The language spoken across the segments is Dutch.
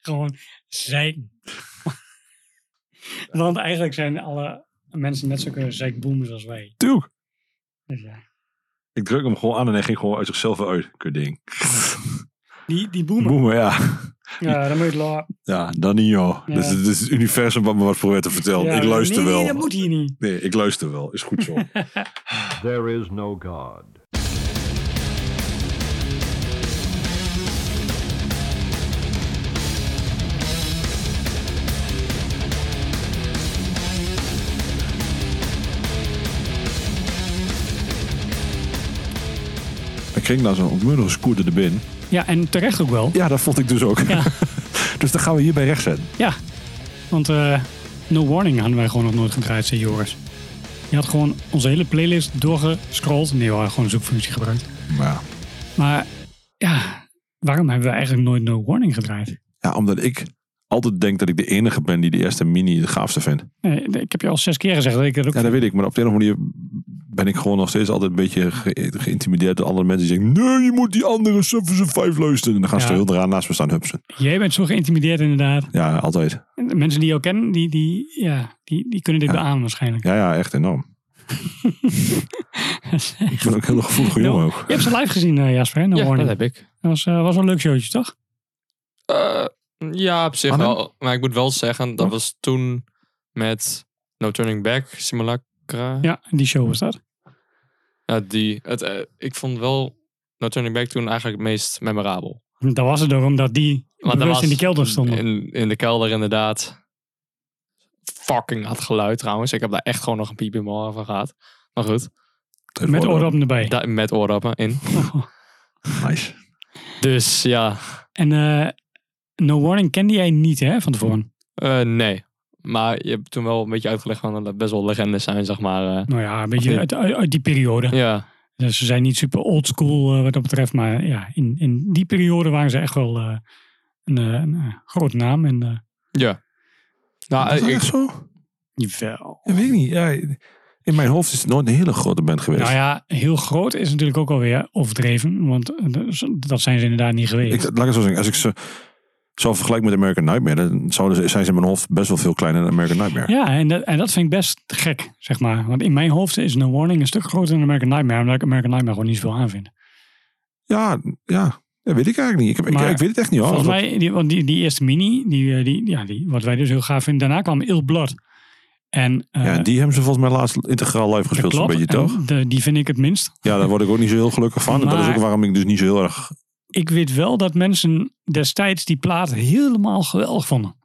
gewoon zijn. Want eigenlijk zijn alle mensen net zulke zeikboemers als wij. Tuurlijk. Dus ja. Ik druk hem gewoon aan en hij ging gewoon uit zichzelf uit. Kut ding. Die, die boemer, Boemer, ja. ja, dan moet je het laten. Ja, dan niet joh. Ja. Dit, is, dit is het universum wat me wat probeert te vertellen. Ja, ik luister nee, wel. Nee, dat moet hier niet. Nee, ik luister wel. Is goed zo. There is no God. ik ging daar zo'n ontmoedige scooter er binnen. Ja, en terecht ook wel. Ja, dat vond ik dus ook. Ja. dus dan gaan we hierbij recht zetten. Ja, want eh, No Warning hadden wij gewoon nog nooit gedraaid, zei Joris. Je had gewoon onze hele playlist doorgescrolld. Nee, we hadden gewoon een zoekfunctie gebruikt. Maar Maar ja, waarom hebben we eigenlijk nooit No Warning gedraaid? ja, omdat ik altijd denk dat ik de enige ben die de eerste mini de gaafste vindt. Nee, ik heb je al zes keer gezegd dat ik dat ook... Ja, dat weet ik. Maar op de een of andere manier ben ik gewoon nog steeds altijd een beetje ge- geïntimideerd door andere mensen die zeggen... Nee, je moet die andere Sufferse 5 luisteren. En dan gaan ze Ja. er heel raar naast me staan hupsen. Jij bent zo geïntimideerd inderdaad. Ja, altijd. En de Mensen die jou kennen, die, die, ja, die, die kunnen dit beamen waarschijnlijk. Ja, ja, echt enorm. ik ben ook een heel gevoelige jongen ook. Je hebt ze live gezien, eh, Jasper, hè? No ja, dat Warning. heb ik. Dat was, eh, was wel een leuk showtje, toch? Eh, ja, op zich Arnhem? wel. Maar ik moet wel zeggen, dat Oh. was toen met No Turning Back, Simulacra. Ja, die show was dat. Ja, die, het, eh, ik vond wel No Turning Back toen eigenlijk het meest memorabel. Dat was het ook omdat die Want dat bewust was in die kelder stonden. In, in de kelder inderdaad. Fucking had geluid trouwens. Ik heb daar echt gewoon nog een piep in mijn oren van gehad. Maar goed, Met oordoppen erbij. da- met oordoppen in. Nice. Dus ja, En eh, No Warning kende jij niet, hè, van tevoren? eh, nee. Maar je hebt toen wel een beetje uitgelegd van dat het best wel legendes zijn, zeg maar. eh. Nou ja, een beetje Of uit, uit- uit die periode. ja. Dus ze zijn niet super oldschool eh, wat dat betreft. Maar ja, in, in die periode waren ze echt wel eh, een, eh, een, eh, groot naam. En, eh, Ja. Nou, is dat ik- echt zo? Jawel. Ja, weet ik niet. Ja, in mijn hoofd is het nooit een hele grote band geweest. Nou ja, heel groot is natuurlijk ook alweer overdreven. Want eh, dus dat zijn ze inderdaad niet ik, geweest. laat ik het zo zeggen. Als ik ze zou vergelijken met American Nightmare, dan zouden ze, zijn ze in mijn hoofd best wel veel kleiner dan American Nightmare. Ja, en dat, en dat vind ik best gek, zeg maar. Want in mijn hoofd is No Warning een stuk groter dan American Nightmare. Omdat ik American Nightmare gewoon niet zoveel aanvind. Ja, ja. Dat weet ik eigenlijk niet. Ik, heb, Maar ik, ik weet het echt niet hoor. Volgens mij, die, want die, die eerste mini, die, eh, die, ja, die, wat wij dus heel gaaf vinden. Daarna kwam Il Blood. En, eh, ja, die hebben ze volgens mij laatst integraal live dat gespeeld, zo'n klopt. beetje En toch? de- die vind ik het minst. Ja, daar word ik ook niet zo heel gelukkig van. En dat is Maar- ook waarom ik dus niet zo heel erg. Ik weet wel dat mensen destijds die plaat helemaal geweldig vonden.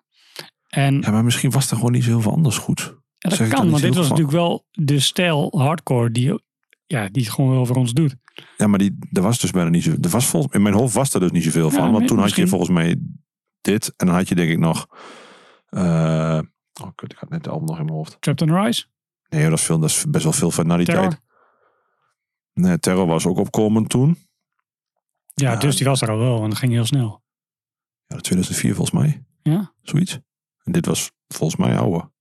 En Ja, maar misschien was er gewoon niet zo heel veel anders goed. ja, zeg dat ik daar kan, niet want dit heel was van. natuurlijk wel de stijl hardcore die, ja, die het gewoon wel voor ons doet. Ja, maar die, er was dus bijna niet zo. Er was volgens, in mijn hoofd was er dus niet zoveel Ja, van. mi- Want toen had je misschien. volgens mij dit. En dan had je denk ik nog. eh, oh, kut, ik had net de album nog in mijn hoofd. Trapped on Rise, Nee, dat is, veel, dat is best wel veel van na die tijd. Terror. Nee, Terror was ook opkomend toen. Ja, Ja. dus die was er al wel en dat ging heel snel. Ja, 2004 volgens mij. Ja. Zoiets. En dit was volgens mij ouder.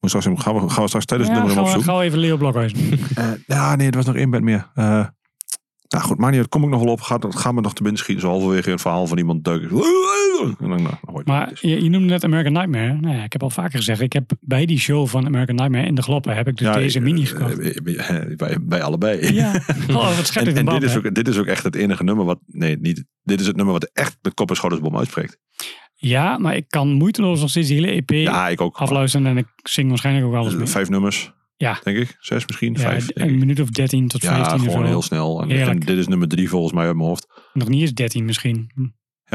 Moet straks, even- gaan, we, gaan we straks tijdens het ja, nummer gaan hem we, opzoeken? gaan we even Leo Blokhuizen. Eh, ja, nee, er was nog één band meer. Eh nou goed, maar niet, uit, kom ik nog wel op. Gaat, gaat me nog te binnen schieten. Zo halverwege een verhaal van iemand duiken. En dan, nou, nou, hoor je het Maar niet. je, je noemde net American Nightmare. hè? Nou ja, ik heb al vaker gezegd, ik heb bij die show van American Nightmare in de gloppen, heb ik dus Ja, deze eh, mini eh, gekocht. eh, bij, bij allebei. Ja, oh, wat schep ik En, de en band, dit, is hè? ook, dit is ook echt het enige nummer wat... Nee, niet, dit is het nummer wat echt de kop- en schoudersbom uitspreekt. Ja, maar ik kan moeiteloos nog steeds die hele EP Ja, ik ook. Eh, afluisteren en ik zing waarschijnlijk ook alles mee. Vijf nummers. Ja. Denk ik. Zes misschien. Ja, vijf. denk een ik. minuut of 13 tot Ja, 15 of zo. gewoon heel snel. En, Heerlijk. en dit is nummer drie volgens mij uit mijn hoofd. Nog niet eens 13 misschien. Hm,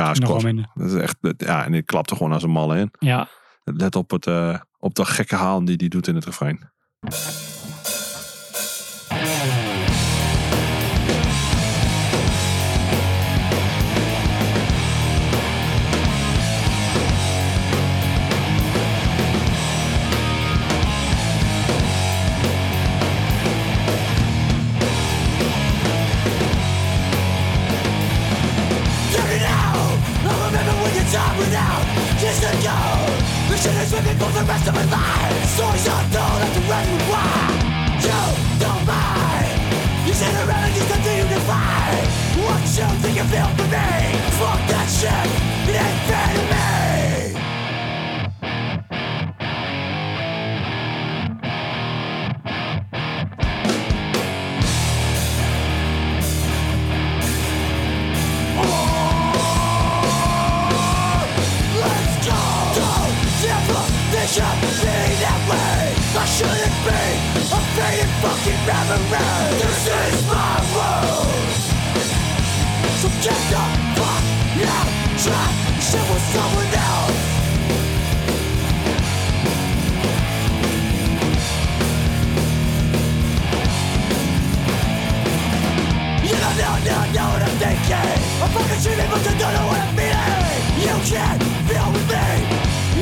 Ja, is Nog wel kort. minder. Dat is echt, dat- ja, en ik klapte gewoon als een malle in. Ja, Let op, het, eh, op de gekke haan die die doet in het refrein. Turn it out! I remember when your time ran out Years ago The shit is ripping for the rest of my life Stories are told after every why You don't mind You sit around and you continue to fight What you think you feel for me Fuck that shit It ain't fair to me shouldn't be a faded fucking memory. This is my world. So get the fuck out. Try to shit with someone else. You don't know, don't know what I'm thinking I'm fucking shooting but you don't know what I'm feeling You can't feel with me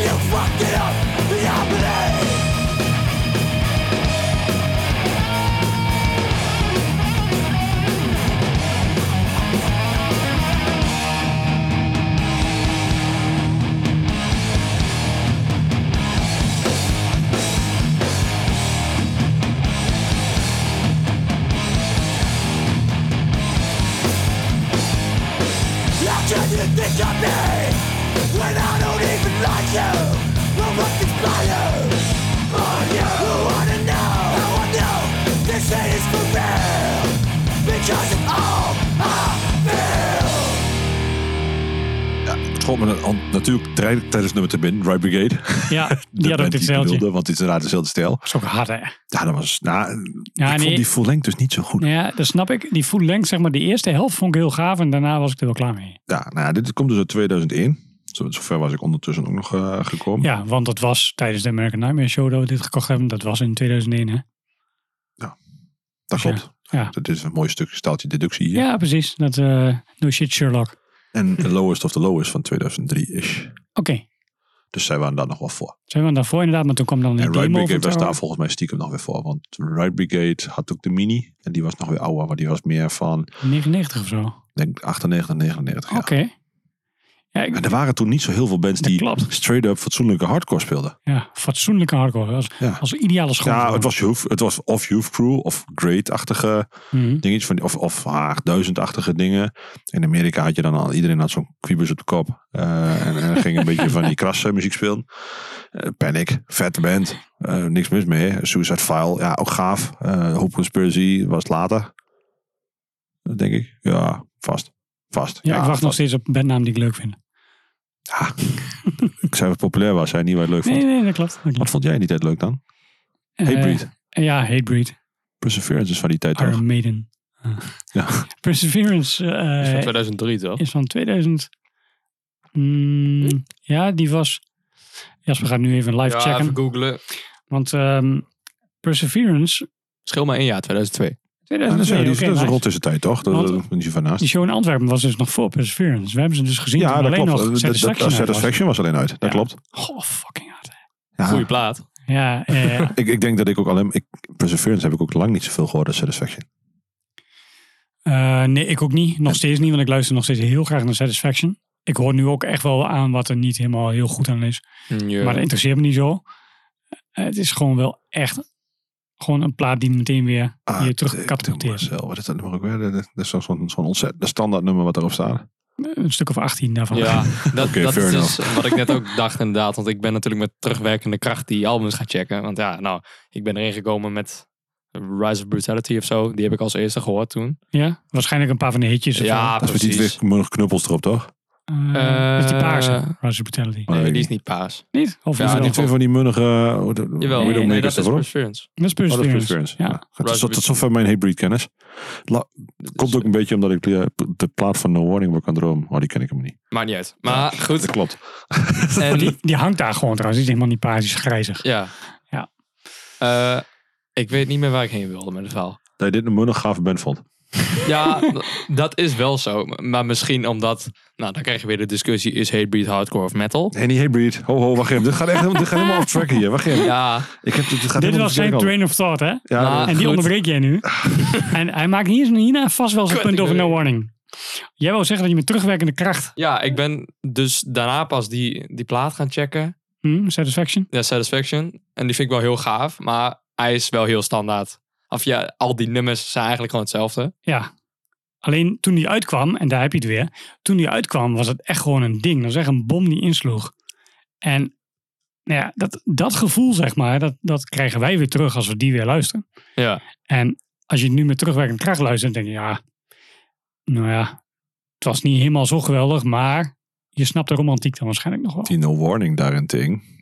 You fucked it up, the happening How can you think of me when I don't even like you? No fucking fire on you. Who wanna know? How I know this hate is for real? Because it's all I feel. Ja, het schoot me dan- natuurlijk direct tijdens nummer te binnen, Right Brigade. Ja, De die had ook band dit ik zeiltje. bedoelde, Dat want het is inderdaad dezelfde stijl. is ook hard, hè? Ja, dat was... Nou, Ja, ik nee. vond die full length dus niet zo goed. Ja, dat snap ik. Die full length, zeg maar, de eerste helft vond ik heel gaaf en daarna was ik er wel klaar mee. Ja, nou, ja, dit komt dus uit 2001. Zo- Zover was ik ondertussen ook nog eh, gekomen. Ja, want dat was tijdens de American Nightmare Show dat we dit gekocht hebben. Dat was in 2001, hè? dat dus, ja. klopt. Ja, Dit is een mooi stuk staaltje deductie hier. ja precies. Dat eh, No Shit Sherlock. Oké, En The Lowest of the Lowest van 2003-ish. Dus zij waren daar nog wel voor. zijn we daarvoor inderdaad, maar toen kwam dan een en Right demo Brigade van was Tower. daar volgens mij stiekem nog weer voor. Want Right Brigade had ook de mini. En die was nog weer ouder. Maar die was meer van, 99 of zo. ik denk 98, 99 Oké. ja. Ja, ik- En er waren toen niet zo heel veel bands Dat die klopt. straight up fatsoenlijke hardcore speelden. ja, fatsoenlijke hardcore. Als, Ja. als ideale school. Ja, het was, youth, het was of Youth Crew of Great-achtige Mhm. dingetjes. Van, die- of of Haag 1000-achtige dingen. In Amerika had je dan al, iedereen had zo'n kubus op de kop. Eh, en, en ging een beetje van die krasse muziek spelen. Eh, Panic, vette band, eh, niks mis mee. Suicide File, ja, ook gaaf. Eh Hope Conspiracy was later. Dat Denk ik, ja, vast. Vast. Ja, ik wacht nog vast. steeds op een bandnaam die ik leuk vind. Ik zei wat populair was, hij niet wat je leuk vond. Nee, nee, dat klopt. Dat klopt. Wat vond jij in die tijd leuk dan? Hatebreed. Eh, ja, Hatebreed. Perseverance is van die tijd toch? Iron Maiden. Ah. Ja. Perseverance eh, Is van 2003 toch? is van 2000. Hm? Mm, ja, die was... Jasper gaat nu even live ja, checken. even googlen. Want ehm, Perseverance... Schil maar één jaar, 2002. Ja, dat is, 2002, dat is- oké, dat is een nice. rot tussentijd, toch? Dat, Want- dat, dat is hier van naast. Die show in Antwerpen was dus nog voor Perseverance. We hebben ze dus gezien Ja, toen dat alleen nog klopt. Dat- dat- Satisfaction dat, uit was. satisfaction was alleen uit. Dat Ja. klopt. Goh, fucking hard. hè. Ja. Goeie plaat. Ja, eh, Ik, ik denk dat ik ook alleen... Ik, Perseverance heb ik ook lang niet zoveel gehoord als Satisfaction. eh, nee, ik ook niet. Nog steeds niet, want ik luister nog steeds heel graag naar Satisfaction. Ik hoor nu ook echt wel aan wat er niet helemaal heel goed aan is. Mm, Ja. Maar dat interesseert me niet zo. Eh, het is gewoon wel echt gewoon een plaat die meteen weer Ah, je terug katapulteert. Marcel, Wat is dat nummer ook weer? Dat- Dat dat is zo'n zo'n ontzettend standaard nummer wat daarop Ah, staat. Een stuk of 18 daarvan. Ja, dat, Oké, dat fair is dus wat ik net ook dacht inderdaad. Want ik ben natuurlijk met terugwerkende kracht die albums gaan checken. Want ja, nou, ik ben erin gekomen met Rise of Brutality of zo. Die heb ik als eerste gehoord toen. Ja? Waarschijnlijk een paar van de hitjes. of Ja, zo. Dat is met die precies. twee nog knuppels erop, toch? Eh, dat is die Eh, paarse. Rise of Brutality. Maar Nee, dat die is weet ik niet paas. Niet? Of Ja, is het niet. die wel? twee van die munnige... Uh, Jawel, Nee, nee, nee, dat is erop. Perseverance. Dat is Oh, dat is Perseverance. Perseverance. Ja. Ja. Tot- Tot, Raspberry. tot zover mijn Hatebreed kennis. La- Dus- komt ook een beetje omdat ik de, de plaat van No Warning Work aan Droom... Oh, die ken ik hem niet. Dus, Maakt niet uit. Maar Dat goed. klopt. En Die, die hangt daar gewoon trouwens. Die is helemaal niet paars, die is grijzig. Ja. Ja. Eh, ik weet niet meer waar ik heen wilde met het verhaal. Dat je dit een munnig gave band vond. Ja, d- dat is wel zo. Maar misschien omdat... Nou, dan krijg je weer de discussie... Is Hatebreed hardcore of metal? Nee, niet Hatebreed. Ho, ho, wacht even. Dit gaat echt helemaal- dit gaat helemaal off track hier. Wacht even. Ja, Ik heb dit, dit gaat Dit helemaal was zijn verkeerd train Ah. of thought, hè? over. Ja, Maar- dat- en die goed. onderbreek jij nu. en hij maakt hier hierna vast wel zijn Kut, punt ik over weet no het. warning. Jij wou zeggen dat je met terugwerkende kracht... ja, ik ben dus daarna pas die, die plaat gaan checken. Hm, satisfaction? Ja, Satisfaction. En die vind ik wel heel gaaf. Maar hij is wel heel standaard. Of ja, al die nummers zijn eigenlijk gewoon hetzelfde. Ja. Alleen toen die uitkwam, en daar heb je het weer. Toen die uitkwam was het echt gewoon een ding. Dat was echt een bom die insloeg. En nou ja, dat, dat gevoel, zeg maar, dat, dat krijgen wij weer terug als we die weer luisteren. Ja. En als je het nu met terugwerkend kracht luistert, denk je, ja, nou ja, het was niet helemaal zo geweldig, maar je snapt de romantiek dan waarschijnlijk nog wel. Die No Warning daarentegen.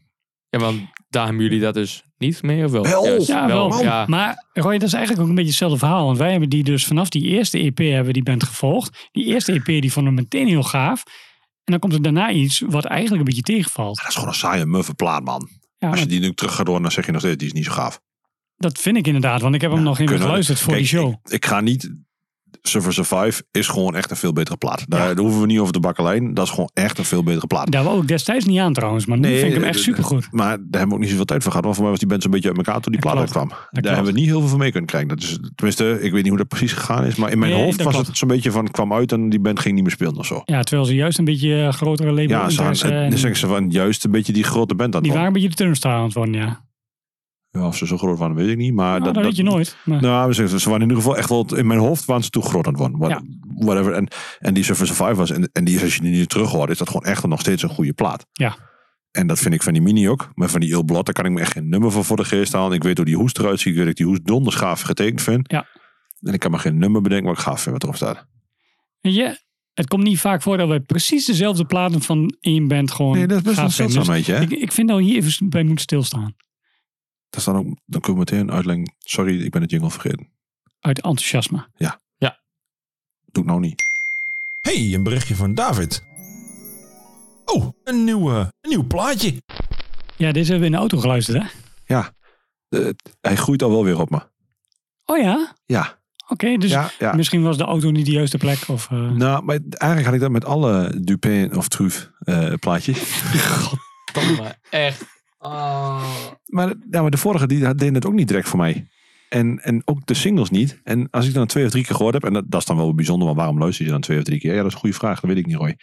Ja, want daar hebben jullie dat dus niet mee, of wel? Wel. Juist, Ja, wel. Ja. Maar Roy, dat is eigenlijk ook een beetje hetzelfde verhaal. Want wij hebben die dus vanaf die eerste EP hebben we die band gevolgd. Die eerste EP die vonden we meteen heel gaaf. En dan komt er daarna iets wat eigenlijk een beetje tegenvalt. Dat is gewoon een saaie muffe plaat, man. Ja, Als je maar die nu terug gaat horen, dan zeg je nog steeds, die is niet zo gaaf. dat vind ik inderdaad, want ik heb hem nog even kunnen we- geluisterd voor Kijk, die show. Ik, ik ga niet... Surfer Survive is gewoon echt een veel betere plaat. Daar, daar hoeven we niet over te bakkelijn. Dat is gewoon echt een veel betere plaat. Daar wou ik destijds niet aan trouwens, maar nu Nee, vind ik hem eh, echt eh, supergoed. Maar daar hebben we ook niet zoveel tijd voor gehad. Want voor mij was die band zo'n beetje uit elkaar toen die Dat plaat klopt. uitkwam. klopt. Daar hebben we niet heel veel van mee kunnen krijgen. Dat is, tenminste, ik weet niet hoe dat precies gegaan is. Maar in mijn Nee, hoofd dat was klopt. het zo'n beetje van... kwam uit en die band ging niet meer spelen of zo. Ja, terwijl ze juist een beetje eh, grotere label Ja, ze interesse waren, en- dan zeggen ze van juist een beetje die grote band aan eh, Die het waren een beetje de turnstile aan het worden, ja. worden. Ja, of ze zo groot waren, weet ik niet. Maar Nou, dat, weet je nooit. Maar, Nou, ze, ze waren in ieder geval echt wel... In mijn hoofd waren ze toen groot aan het worden. What- Whatever. En, en die Surfer Survive was... En, en die is, als je die nu terug hoort... is dat gewoon echt nog steeds een goede plaat. Ja. En dat vind ik van die mini ook. Maar van die Il Blot, daar kan ik me echt geen nummer van voor de geest halen. Ik weet hoe die hoest eruit ziet. Ik weet dat ik die hoest donderschaaf getekend vind. Ja. En ik kan me geen nummer bedenken wat ik gaaf vind wat erop staat. Weet je, het komt niet vaak voor dat wij precies dezelfde platen van één band gewoon Nee, dat is best wel gaaf vinden. zeldzaam, weet je. hè? Dus ik, ik vind dat we hier even bij moeten stilstaan. Dat is dan, ook, dan kun je meteen uitleggen. Sorry, ik ben het jingle vergeten. Uit enthousiasme. Doe ik nou niet. Hey, een berichtje van David. Oh, een nieuw, eh, een nieuw plaatje. Ja, deze hebben we in de auto geluisterd, hè? Eh, hij groeit al wel weer op me. Oh ja? Ja. Oké, dus ja, ja. misschien was de auto niet de juiste plek. Of, eh, Nou, maar eigenlijk had ik dat met alle Dupin of Truuf eh, plaatjes. Tom, maar echt. Oh. Maar, ja, maar de vorige die deed het ook niet direct voor mij. En, en ook de singles niet. En als ik dan twee of drie keer gehoord heb, en dat, dat is dan wel bijzonder, want waarom luister je dan twee of drie keer? Ja, dat is een goede vraag, dat weet ik niet, Roy.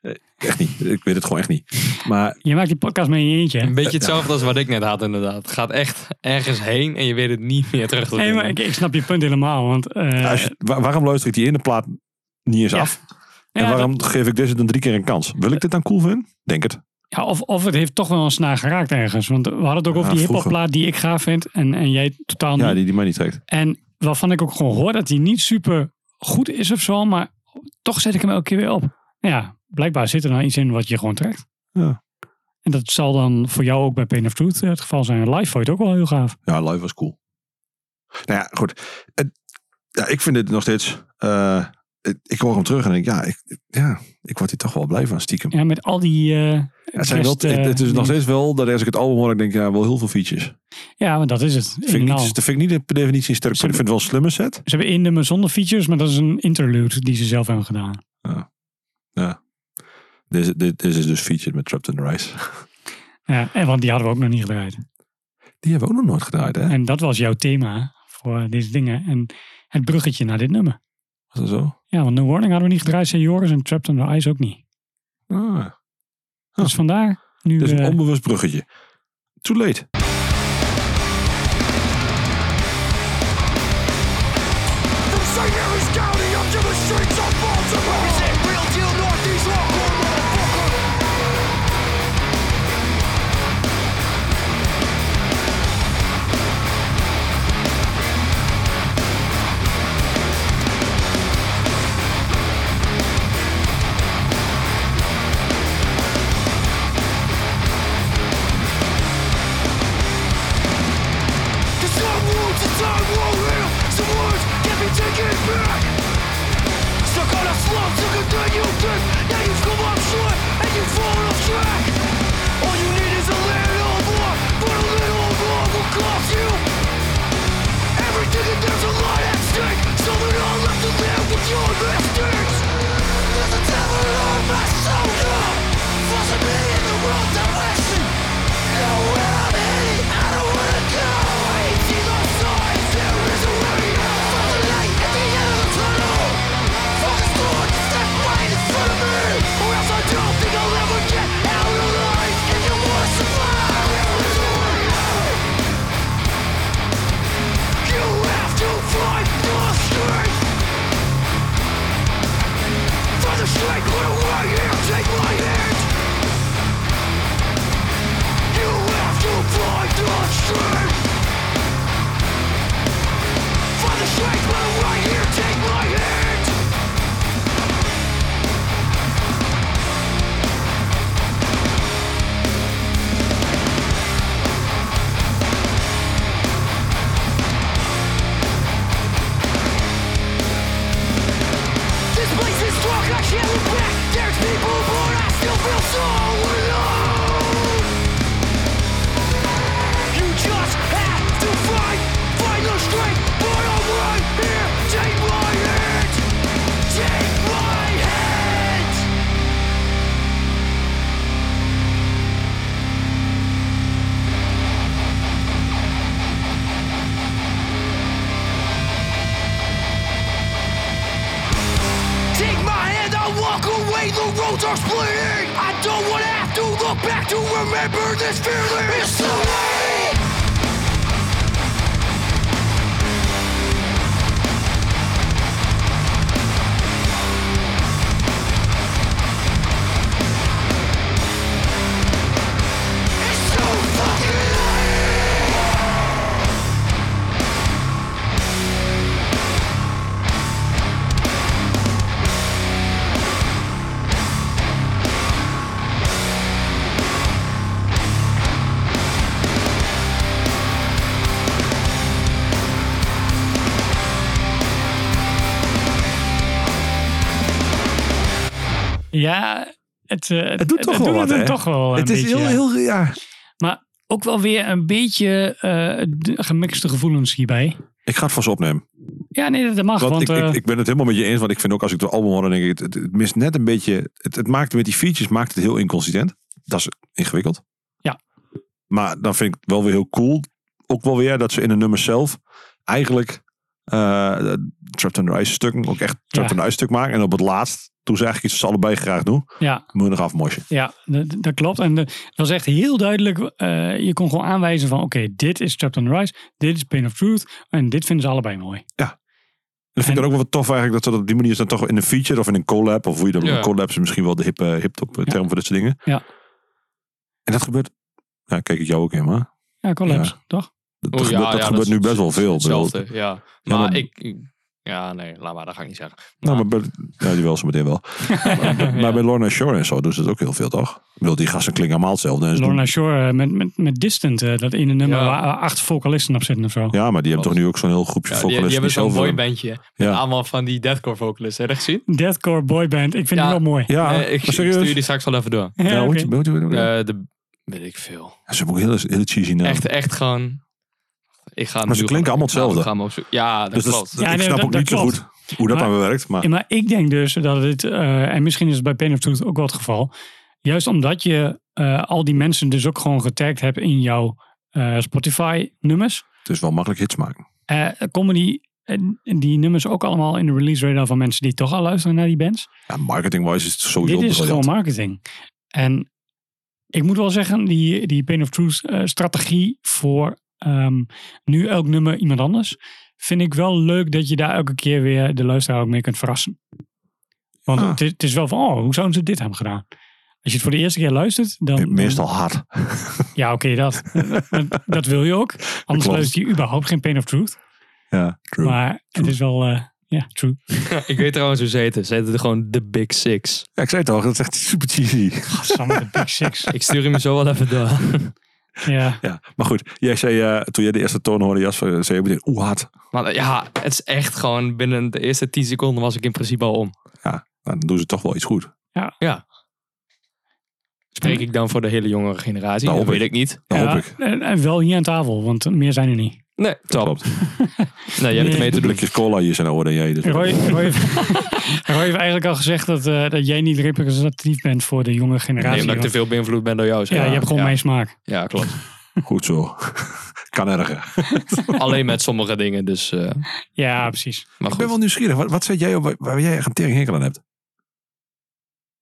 Eh, echt niet, ik weet het gewoon echt niet. Maar Je maakt die podcast mee in je eentje, hè? Een beetje hetzelfde als wat ik net had, inderdaad. Het gaat echt ergens heen en je weet het niet meer terug te Nee, maar vinden. ik, ik snap je punt helemaal. Want, eh, als je- wa- waarom luister ik die ene plaat niet eens Ja. af? En ja, waarom dat- geef ik deze dan drie keer een kans? Wil ik dit dan cool vinden? Denk het. ja, of, of het heeft toch wel een snaar geraakt ergens. Want we hadden het ook over die vroeger. hiphopplaat die ik gaaf vind. En, en jij totaal niet. Ja, die, die mij niet trekt. En waarvan ik ook gewoon hoor dat hij niet super goed is of zo, maar toch zet ik hem elke keer weer op. Nou Ja, blijkbaar zit er nou iets in wat je gewoon trekt. Ja. En dat zal dan voor jou ook bij Pain of Truth eh, het geval zijn. Live vond je het ook wel heel gaaf. Ja, live was cool. Nou ja, goed. Het- ja, ik vind dit nog steeds... eh, ik, ik hoor hem terug en denk, ja ik, ja, ik word hier toch wel blij van, stiekem. Ja, met al die... eh, het, zijn wel, best, eh, het, het is nog dingen. steeds wel dat als ik het album hoor, ik denk, ja, wel heel veel features. Ja, want dat is het. In Vind ik, en al. niet, dat vind ik niet per definitie een sterk Ze- punt. Ik vind het wel een slimme set. Ze hebben één nummer zonder features, maar dat is een interlude die ze zelf hebben gedaan. Dit, dit, dit is dus featured met Trapped in the Rise. Ja, en want die hadden we ook nog niet gedraaid. Die hebben we ook nog nooit gedraaid, hè? En dat was jouw thema voor deze dingen. En het bruggetje naar dit nummer. Was dat zo? Ja, want No Warning hadden we niet gedraaid, zei Joris. En Trapped Under Ice ook niet. Ah, Dus vandaar. Nu, dit is een eh, onbewust bruggetje. Too late. From St. Mary's County up to the streets of Baltimore. It's that real deal Northeast hardcore, motherfucker. Cause some wounds are time won't heal. Some words can't be taken back. Stuck on a slump, took a thing you did. Now you've come up short and you've fallen off track. All you need is a little more, but a little more will cost you. Everything and there's a lot at stake. So we all left to live with your mistakes. There's a devil on my shoulder, forcing me in the wrong direction. Go where I'm headed, I don't wanna go. I see the signs, there is a way out. Find the light at the end of the tunnel. Focus on the step right in front of me, or else I don't think. fall back to remember this fearless history. It's so fucking Ja, het, eh, Het doet toch wel doet wat, het hè? toch wel een het is beetje, heel, ja. heel, ja. Maar ook wel weer een beetje eh, de- gemixte gevoelens hierbij. Ik ga het vast opnemen. Ja, nee, dat mag. Want, Want, ik, eh, ik, ik ben het helemaal met je eens. Want ik vind ook als ik de album hoor, dan denk ik, het, het, het mist net een beetje. Het, het maakt met die features maakt het heel inconsistent. Dat is ingewikkeld. Ja. Maar dan vind ik het wel weer heel cool. Ook wel weer dat ze in de nummers zelf eigenlijk eh Trapped Under Ice stukken, ook echt Trapped Ja. Under Ice stuk maken. En op het laatst doen ze eigenlijk iets wat ze allebei graag doen. ja, Moet je nog afmosje. ja d- d- dat klopt. En de- het was echt heel duidelijk. eh, je kon gewoon aanwijzen van, oké, dit is Trapped on the Rise. Dit is Pain of Truth. En dit vinden ze allebei mooi. En dat vind ik En- dan ook wel wat tof eigenlijk, dat ze dat op die manier is dan toch in een feature of in een collab, of hoe je dat Ja. een collab is misschien wel de hip, eh, hip top eh, term voor dit soort dingen. Ja. En dat gebeurt, ja, kijk ik jou ook in, maar Ja, collabs, toch? dat, Oh, dat ja, gebeurt, dat ja, gebeurt dat nu is best wel veel. Ik bedoel, Hetzelfde, ja. Maar, maar- ik, ik- Ja, nee, laat maar, dat ga ik niet zeggen. nou, maar bij, ja, die wel zo meteen wel. maar, maar bij Lorna Shore en zo doen ze dat ook heel veel, toch? Ik bedoel, die gasten klinken allemaal hetzelfde. En ze Lorna Shore eh, met, met, met Distant. eh, dat ene nummer Ja. waar eh, acht vocalisten op zitten of zo. doen- ja, maar die hebben toch nu ook zo'n heel groepje Ja, die, die vocalisten hebben zo'n zelf- boybandje. Met Ja. allemaal van die deathcore vocalisten. Heb je dat gezien? Deathcore boyband. Ik vind Ja. het wel mooi. Ja, Eh, ik, Ah, maar ik stuur serieus. die straks wel even door. Ja, Ja, hoe oké. heet die- hoe heet die- hoe heet die- Eh, de, weet ik veel. Ja, Ze hebben ook heel, heel cheesy eh, naam. Echt, echt gewoon... Ik ga Maar ze nu klinken gewoon- allemaal hetzelfde. ik ga hem opzoeken. Ja, dat Dus dat, klopt. dat- Ja, ik nee, snap dat- ook dat niet zo klopt. goed hoe dat Maar- aan werkt, maar... Ja, maar ik denk dus dat het, eh, en misschien is het bij Pain of Truth ook wat het geval, juist omdat je eh, al die mensen dus ook gewoon getagd hebt in jouw eh, Spotify-nummers, Het is wel makkelijk hits maken. eh, komen die, eh, die nummers ook allemaal in de release radar van mensen die toch al luisteren naar die bands. Ja, marketing-wise is het sowieso Dit is briljant. gewoon marketing. En ik moet wel zeggen, die, die Pain of Truth-strategie voor ehm, nu elk nummer iemand anders, vind ik wel leuk dat je daar elke keer weer de luisteraar ook mee kunt verrassen. Want Ah. het, is, het is wel van, oh, hoe zouden ze dit hebben gedaan? Als je het voor de eerste keer luistert, dan... dan- Meestal hard. Ja, oké, dat. Maar dat wil je ook. Anders Klopt. luister je überhaupt geen Pain of Truth. Ja, true. Maar het is wel... eh, ja, true. Ik weet trouwens hoe ze heten. Ze heten gewoon de Big Six. Ja, ik zei het al, dat is echt super cheesy. Godsamme, de Big Six. Ik stuur hem je zo wel even door. Ja. Ja, maar goed. Jij zei, eh, toen jij de eerste toon hoorde, Jasper, zei je meteen, oeh, hard. Maar eh, ja, het is echt gewoon binnen de eerste 10 seconden was ik in principe al om. Nou, dan doen ze toch wel iets goed. Spreek ik dan voor de hele jongere generatie? Hm. Nou, dat hoop ik. weet ik niet. Dat Ja, hoop ik. En, en wel hier aan tafel, want meer zijn er niet. Nee, top. Klopt. Nou, jij hebt ermee Nee. De te doen. blikjes cola hier zijn oren en jij. Dus Roy, Roy, heeft, Roy heeft eigenlijk al gezegd dat, eh, dat jij niet representatief bent voor de jonge Nee, generatie. omdat ik te veel beïnvloed ben door jou. zeg ja, maar. je hebt gewoon ja. mijn smaak. Ja, klopt. Goed zo. kan erger. Alleen met sommige dingen, dus... eh, Ja, precies. maar Ik goed. ben wel nieuwsgierig. Wat, wat zet jij op waar, waar jij echt een teringhekel aan hebt?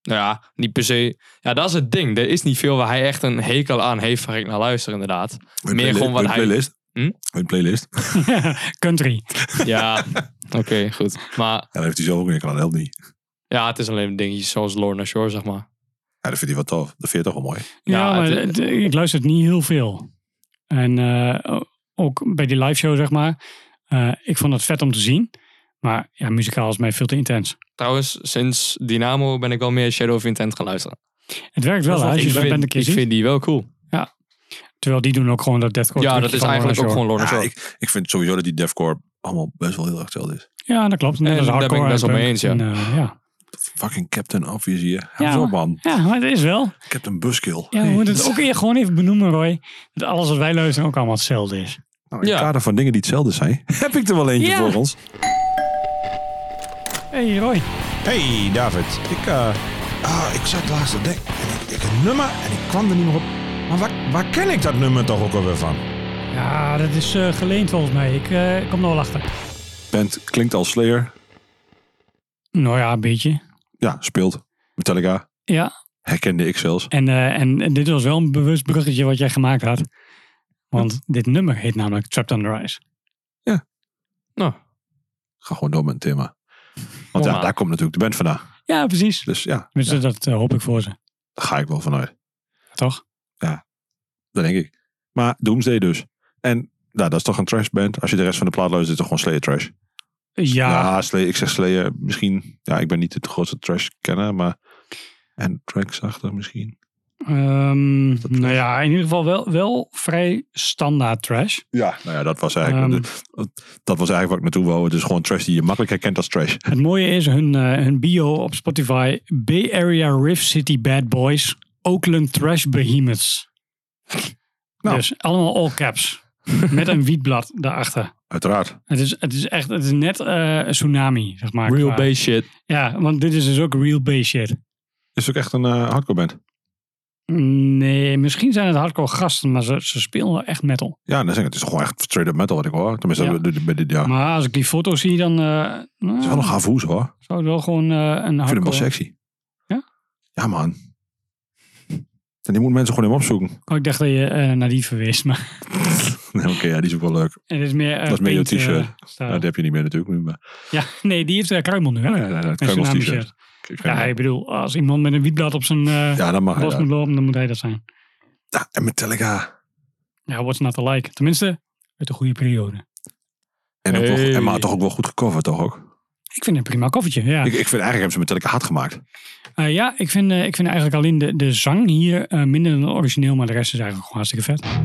Nou ja, niet per se. Ja, dat is het ding. Er is niet veel waar hij echt een hekel aan heeft waar ik naar luister, inderdaad. Meer gewoon wat een hij- playlist. Hm? Een playlist. Ja, Country. Ja, oké, goed. Maar daar heeft hij zelf ook een hekel aan. Helpt niet. ja, het is alleen dingetjes zoals Lorna Shore, zeg maar. Ja, dat vindt hij wel tof. Dat vind je toch wel mooi. Ja, Ja, maar het- d- ik luister het niet heel veel. En eh, ook bij die live show, zeg maar. eh, ik vond het vet om te zien. Maar ja, muzikaal is mij veel te intens. Trouwens, sinds Dynamo ben ik wel meer Shadow of Intent gaan luisteren. Het werkt wel, hè, als je ik het bent een vind, keer ik ziet. vind die wel cool. Terwijl die doen ook gewoon dat deathcore. ja, dat trucje is van eigenlijk ook Lorna gewoon Lorna Ja, Shore. ik, ik vind sowieso dat die deathcore allemaal best wel heel erg hetzelfde is. Shore. Ja, dat klopt. Net En als daar ben ik hardcore best en wel mee punk eens, ja. en, eh, ja. Fucking Captain Obvious hier. Ja, Ja, zo maar- man. ja, maar het is wel. Captain Buskill. Ja, we Hey. moeten het ook eer gewoon even benoemen, Roy. Dat alles wat wij luisteren ook allemaal hetzelfde is. Nou, in het Ja. kader van dingen die hetzelfde zijn, heb ik er wel eentje Ja. voor ons. hey, Roy. Hey David, ik, eh, ah, ik zat laatst te denken. en Ik, ik een nummer en ik kwam er niet meer op. Maar waar, waar ken ik dat nummer toch ook alweer van? Ja, dat is eh, geleend volgens mij. Ik eh, kom er wel achter. Band klinkt als Slayer. Nou ja, een beetje. Ja, speelt. Metallica. Ja, herkende ik zelfs. En, eh, en, en dit was wel een bewust bruggetje wat jij gemaakt had. Want dit nummer heet namelijk Trapped on the Rise. Nou, Ga gewoon door met het thema. Want ja, Normaal. daar komt natuurlijk de band vandaan. Ja, precies. Dus ja, Tenminste, ja, dat eh, hoop ik voor ze. daar ga ik wel vanuit. Toch? Dat denk ik. Maar Doomsday dus. En nou, dat is toch een trash band. Als je de rest van de plaat luistert, is het toch gewoon Slayer trash. Ja, Ja, Slayer, ik zeg Slayer misschien. Ja, ik ben niet de grootste trash kenner, maar... En tracks achter misschien. ehm, Dat- nou ja, in ieder geval wel, wel vrij standaard trash. Ja. Nou ja, dat was eigenlijk, Ehm. dat was eigenlijk wat ik naartoe wou. Het is gewoon trash die je makkelijk herkent als trash. Het mooie is hun, eh, hun bio op Spotify. Bay Area Rift City Bad Boys. Oakland Trash Behemoths. Nou. Dus allemaal all caps. met een wietblad daarachter. Uiteraard. Het is, het is echt, het is net eh, een tsunami, zeg maar. real qua- bass shit. Ja, want dit is dus ook real bass shit. Is het ook echt een eh, hardcore band. Nee, misschien zijn het hardcore gasten, maar ze, ze spelen wel echt metal. Ja, dan zeg ik, het is gewoon echt straight up metal wat ik hoor. Tenminste, Ja. dat- dat- bij dit jaar. Het Maar als ik die foto's zie, dan eh nou, is wel een gaaf hoes hoor. zou het wel gewoon eh, een Ik vind hem hardcore... wel sexy. Ja? Ja man. En die moeten mensen gewoon hem opzoeken. Oh, ik dacht dat je eh, naar die verwees, maar Nee, Oké, ja, die is ook wel leuk. het is meer... eh, Dat is meer jouw paint, t-shirt. eh, stijl. Nou, die heb je niet meer natuurlijk nu, maar... Ja, nee, die heeft uh, Kruimel nu, hè? Oh Ja, ja, ja, dat Met kan zijn wel naam t-shirt. shirt. Ja, ik bedoel, als iemand met een wietblad op zijn eh Ja, dat mag. bos Ja. moet lopen, dan moet hij dat zijn. Ja, en Metallica. Ja, what's not to like? Tenminste, uit de goede periode. En, ook wel, Hey. en maar toch ook wel goed gecoverd, toch ook? Ik vind een prima koffertje, ja. Ik, ik vind eigenlijk hebben ze Metallica hard gemaakt. Eh, ja, ik vind, eh, ik vind eigenlijk alleen de, de zang hier eh, minder dan origineel, maar de rest is eigenlijk gewoon hartstikke vet.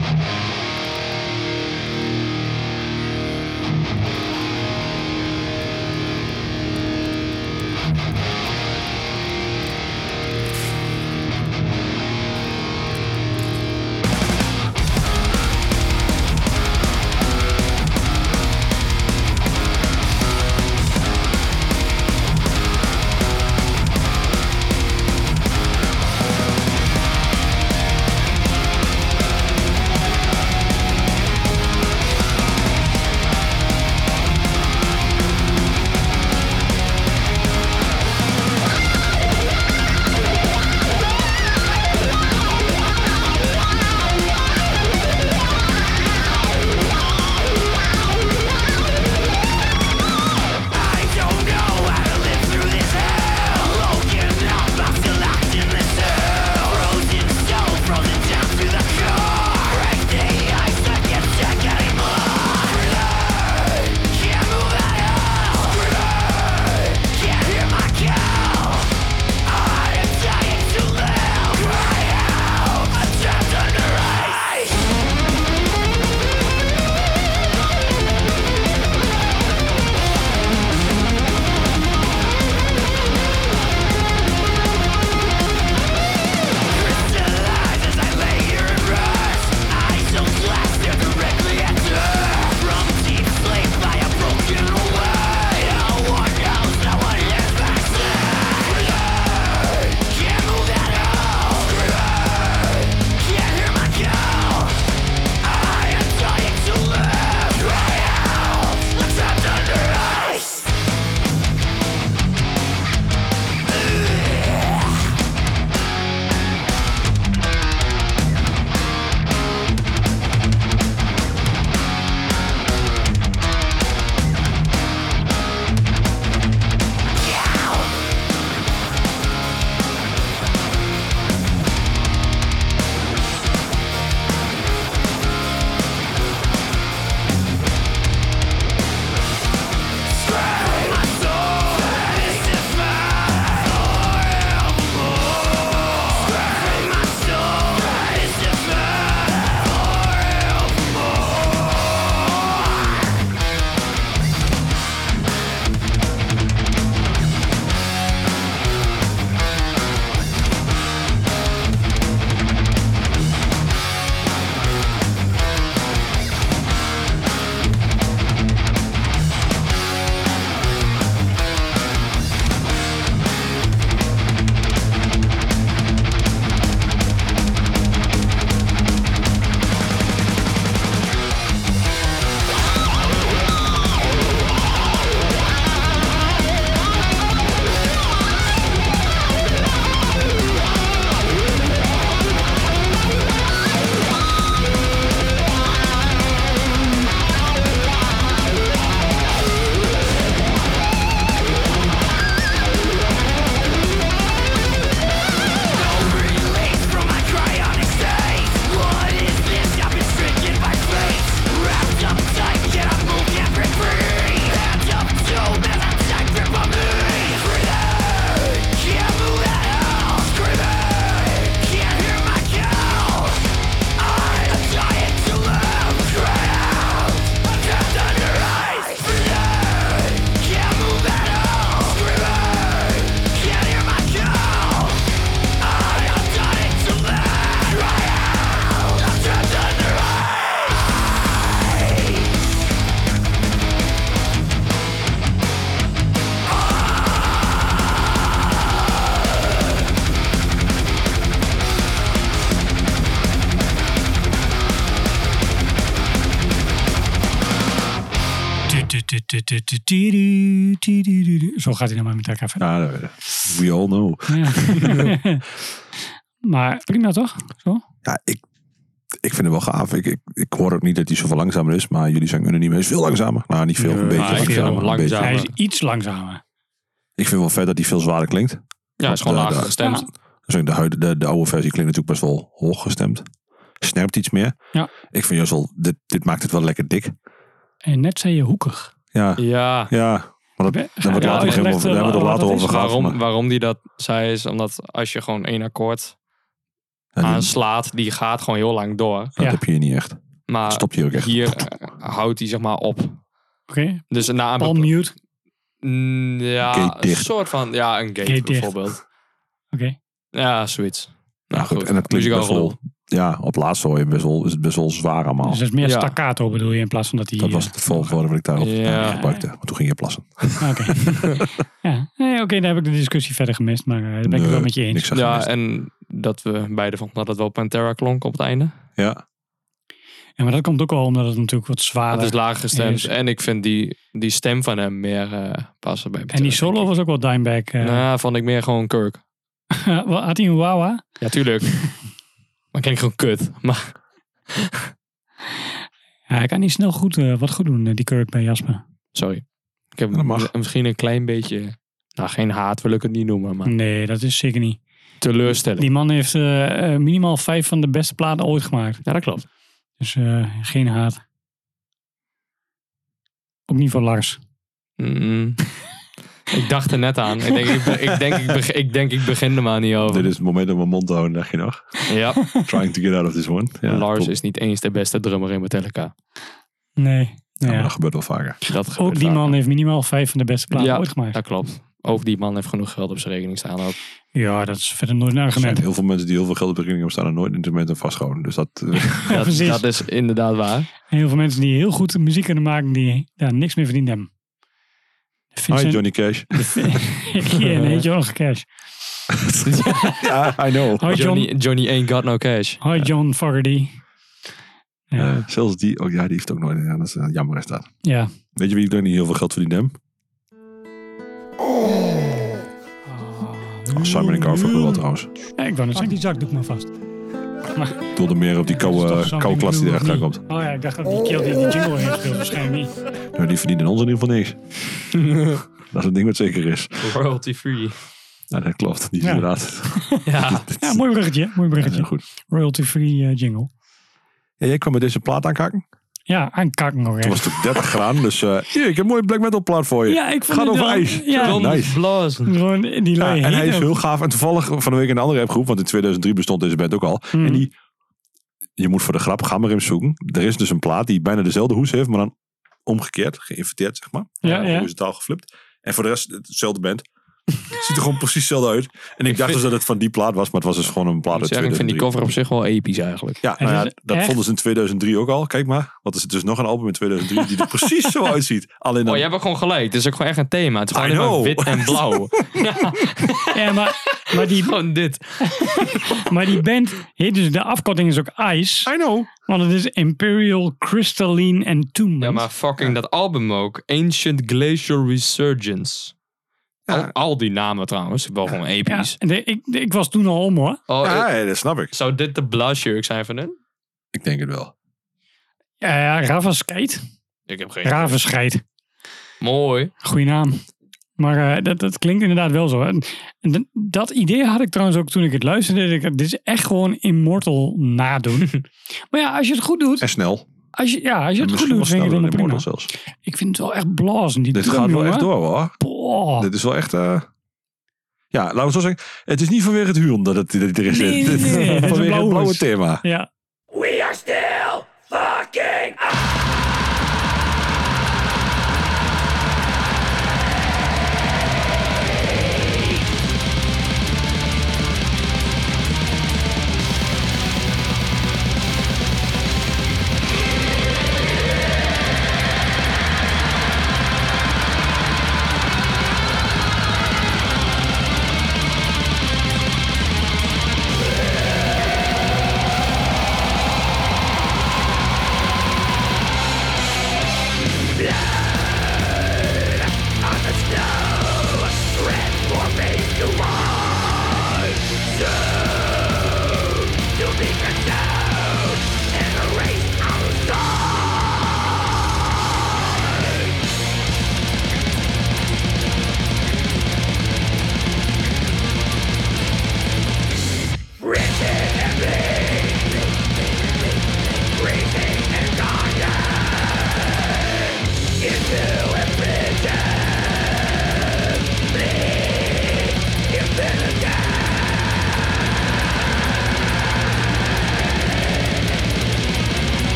tu- tu- tu- tu- tiru, tiru, tiru. Zo gaat hij dan maar met elkaar verder. Ja, dat weet ik. we all know. Ja. maar prima toch? Zo? Ja, ik, ik vind het wel gaaf. Ik, ik, ik hoor ook niet dat hij zoveel langzamer is, maar jullie zijn unaniem. Hij is veel langzamer. Nou, niet veel, Nee, een beetje maar ik vind hem langzamer. een beetje. langzamer. Hij is iets langzamer. Ik vind wel vet dat hij veel zwaarder klinkt. Ja, is gewoon Ja, lager daar- gestemd. Ja. Dus ook de, huid- de, de oude versie klinkt natuurlijk best wel hoog gestemd. Snerpt iets meer. Ja. Ik vind juist wel, dit, dit maakt het wel lekker dik. En net zei je hoekig. Ja, Ja. ja. Maar dat, Ja, daar wordt ja, later nog uitgelegd, helemaal- eh, daar hebben we het wat later dat is. over gehad. Waarom, maar- waarom die dat zei is omdat als je gewoon één akkoord ja, die- aanslaat, die gaat gewoon heel lang door. dat Ah, Ja. Ah, heb je hier niet echt. Maar Stopt hij ook echt. hier eh, houdt hij zeg maar op. Oké, Dus na een palm mute. Mm, Ja, Gate een dicht. soort van, ja, een gate, Gate dicht. bijvoorbeeld. Oké. Ja, zoiets. Nou goed, en dat klinkt Muzikaal best wel... gelul. Ja, op laatst hoor je best wel, is het best wel zwaar allemaal. Dus dat is meer Ja. staccato bedoel je in plaats van dat hij... Oh, Dat was eh, het volgorde wat ik daarop Ja. eh, gebruikte. Maar toen ging je plassen. ah, Oké, ja. nee, oké, daar heb ik de discussie verder gemist, maar eh, dat ben ik Nee, het wel met je eens. Niks aan Ja, gemist. en dat we beide vonden dat het wel Pantera klonk op het einde. ja. Ja, maar dat komt ook wel omdat het natuurlijk wat Het zwaarder is is. laag gestemd. Yes. En ik vind die, die stem van hem meer eh, passen bij Pantera. En die solo was ook wel Dimebag. eh. Nou, vond ik meer gewoon Kirk. Had hij een wawa? Ja, tuurlijk. maar klinkt gewoon kut. Maar Ja, hij kan niet snel goed, eh, wat goed doen, eh, die Kirk bij Jasper. sorry. Ik heb Ja, dat mag. m- misschien een klein beetje... Nou, geen haat wil ik het niet noemen, maar Nee, dat is zeker niet. teleurstelling. Die man heeft eh, eh, minimaal vijf van de beste platen ooit gemaakt. Ja, dat klopt. Dus eh, geen haat. Ook niet voor Lars. Mm. ik dacht er net aan. Ik denk ik, be- ik, denk, ik, beg- ik, denk, ik begin er maar niet eh. over. Dit is het moment om mijn mond te houden, dacht je nog. Ja, Trying to get out of this one. Ja, Lars klopt. is niet eens de beste drummer in Metallica. Nee. Ja, Ja. maar dat gebeurt wel vaker. Dat gebeurt Ook die vaker. man heeft minimaal vijf van de beste platen Ja. ooit gemaakt. Dat klopt. Ook die man heeft genoeg geld op zijn rekening staan. Ook. Ja, dat is verder nooit een Er zijn argument. heel veel mensen die heel veel geld op de rekening hebben staan en nooit een instrument aan vastgehouden. Dus dat... eh, Ja, Dat, precies. dat is inderdaad waar. Heel veel mensen die heel goed muziek kunnen maken, die daar niks meer verdiend hebben. Hi, Vincent, Johnny Cash. ja, nee, John Cash. ja, I know. Hi John, Johnny, Johnny ain't got no cash. Hi John Fogerty. Ja, Eh, zelfs die, oh ja, die heeft ook nooit. Ja, dat is, eh, jammer is dat. ja. Weet je wie ik ook niet heel veel geld verdiend heb? Oh, Simon en Garfunkel wel trouwens. Ja, ik wou net zeggen. die zakdoek maar vast. Ik doelde meer op die koude, koude klas eh, die er achteraan komt. Oh ja, ik dacht dat die keel die die jingle heeft gespeeld waarschijnlijk niet. Nou, die verdienen ons in ieder geval niks. dat is een ding wat zeker is. Royalty free. Ja, dat klopt. Die is Ja. inderdaad. Ja. Ja, mooi bruggetje, mooi Ja, bruggetje. goed. Royalty-free eh, jingle. Ja, jij kwam met deze plaat aankakken. Ja, aankakken nog Toen even. was het 30 graden, dus eh, hier, ik heb een mooie black metal plaat voor je. Ja, ik vond Gaat het over wel- ijs. ja. Zo, Nice. nice. Blazen. Gewoon die Ja, lui en hij is heet ook. heel gaaf. En toevallig van de week in een andere appgroep, want in 2003 bestond deze band ook al. Mhm. En die, je moet voor de grap Gammerims zoeken. Er is dus een plaat die bijna dezelfde hoes heeft, maar dan omgekeerd, geïnverteerd zeg maar. Eh, Ja, ja. Horizontaal geflipt. En voor de rest, hetzelfde band. Ziet er gewoon precies hetzelfde uit. En ik dacht dus dat het van die plaat was, maar het was dus gewoon een plaat Ik moet uit zeggen, ik vind die 2003. cover op zich wel episch eigenlijk. Ja, En nou het ja, is dat echt- vonden ze in 2003 ook al. Kijk maar, want er zit dus nog een album in 2003 die er precies zo uitziet. Alleen dan Oh, je hebt ook gewoon gelijk. Het is ook gewoon echt een thema. Het is gewoon I alleen maar know. wit en blauw. Ja, maar, maar, die, gewoon dit. maar die band heet dus, de afkorting is ook Ice. I know. Want het is Imperial Crystalline Entombment. Ja, maar fucking dat album ook. Ancient Glacial Resurgence. Al, al die namen trouwens. Wel gewoon Ja, episch. en de- ik, de- ik was toen al om hoor. Oh, Ja, eh, ja, dat snap ik. zou dit de blushjurk zijn van hun? Ik denk het wel. Ja, ja Ravascheid. Ik heb geen. Ravenscheid. Mooi. Goeie naam. Maar eh, dat, dat klinkt inderdaad wel zo. En, en dat- dat idee had ik trouwens ook toen ik het luisterde. dat Ik, dit is echt gewoon Immortal nadoen. maar ja, als je het goed doet. En snel. Als je, ja, als je het goed Misschien doet, wel vind ik sneller het dan helemaal prima. Immortal zelfs. Ik vind het wel echt blazen. Die Dit drum, gaat wel jongen. Oh. echt door hoor. Boah. Dit is wel echt... eh, Ja, laten we het zo zeggen. Het is niet vanwege het huon dat het dat het er is. Nee, nee, Dit is nee, nee, dit is een vanwege het blauwe blauwe hoes. thema. Ja. We are still fucking Ja,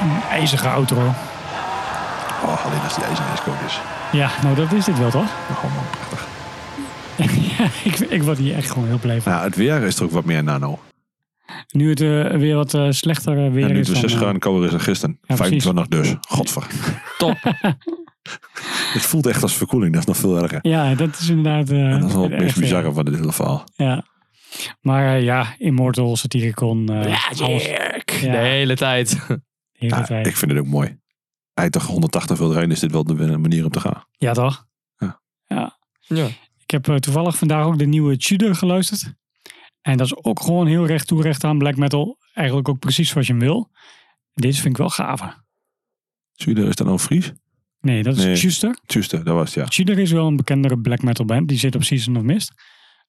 Een ijzige outro. Oh, alleen als die ijzer ijskoud is. dus. Ja, nou dat is dit wel toch? Nou, man, prachtig. ja, ik, ik word hier echt gewoon heel blij van. Nou, het weer is er ook wat meer nano. Nu het eh, weer wat eh, slechter eh, weer En nu is. het weer dan, 6 eh, graden kouder is dan gisteren. Ja, precies. 25 dus. Godver. Top. Het voelt echt als verkoeling. Dat is nog veel erger. Ja, dat is inderdaad... eh, En dat is wel het meest echt, eh, bizarre van dit hele verhaal. Ja. Maar eh, ja, Immortal, Satyricon, eh alles. Ja. De hele tijd. de hele Ja, tijd. ik vind het ook mooi. Hij toch 180 wil rijden, is dit wel de manier om te gaan. Ja, toch? Ja. Ja. Ja. Ik heb eh, toevallig vandaag ook de nieuwe Tudor geluisterd. En dat is ook gewoon heel recht toe recht aan black metal. Eigenlijk ook precies wat je hem wil. Dit vind ik wel gaver. Tudor, is dat nou Fries? Nee, dat is Nee. Tudor. Tudor, dat was het, ja. Tudor is wel een bekendere black metal band. Die zit op Season of Mist.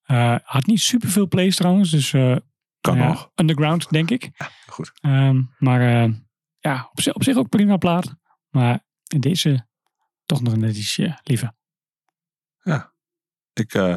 Eh, had niet superveel plays trouwens. Dus eh, Kan ja, nog. underground, denk ik. Goed. Ehm, maar eh, ja, op zich, op zich ook prima plaat. Maar deze toch nog net iets eh, liever. Ik, eh,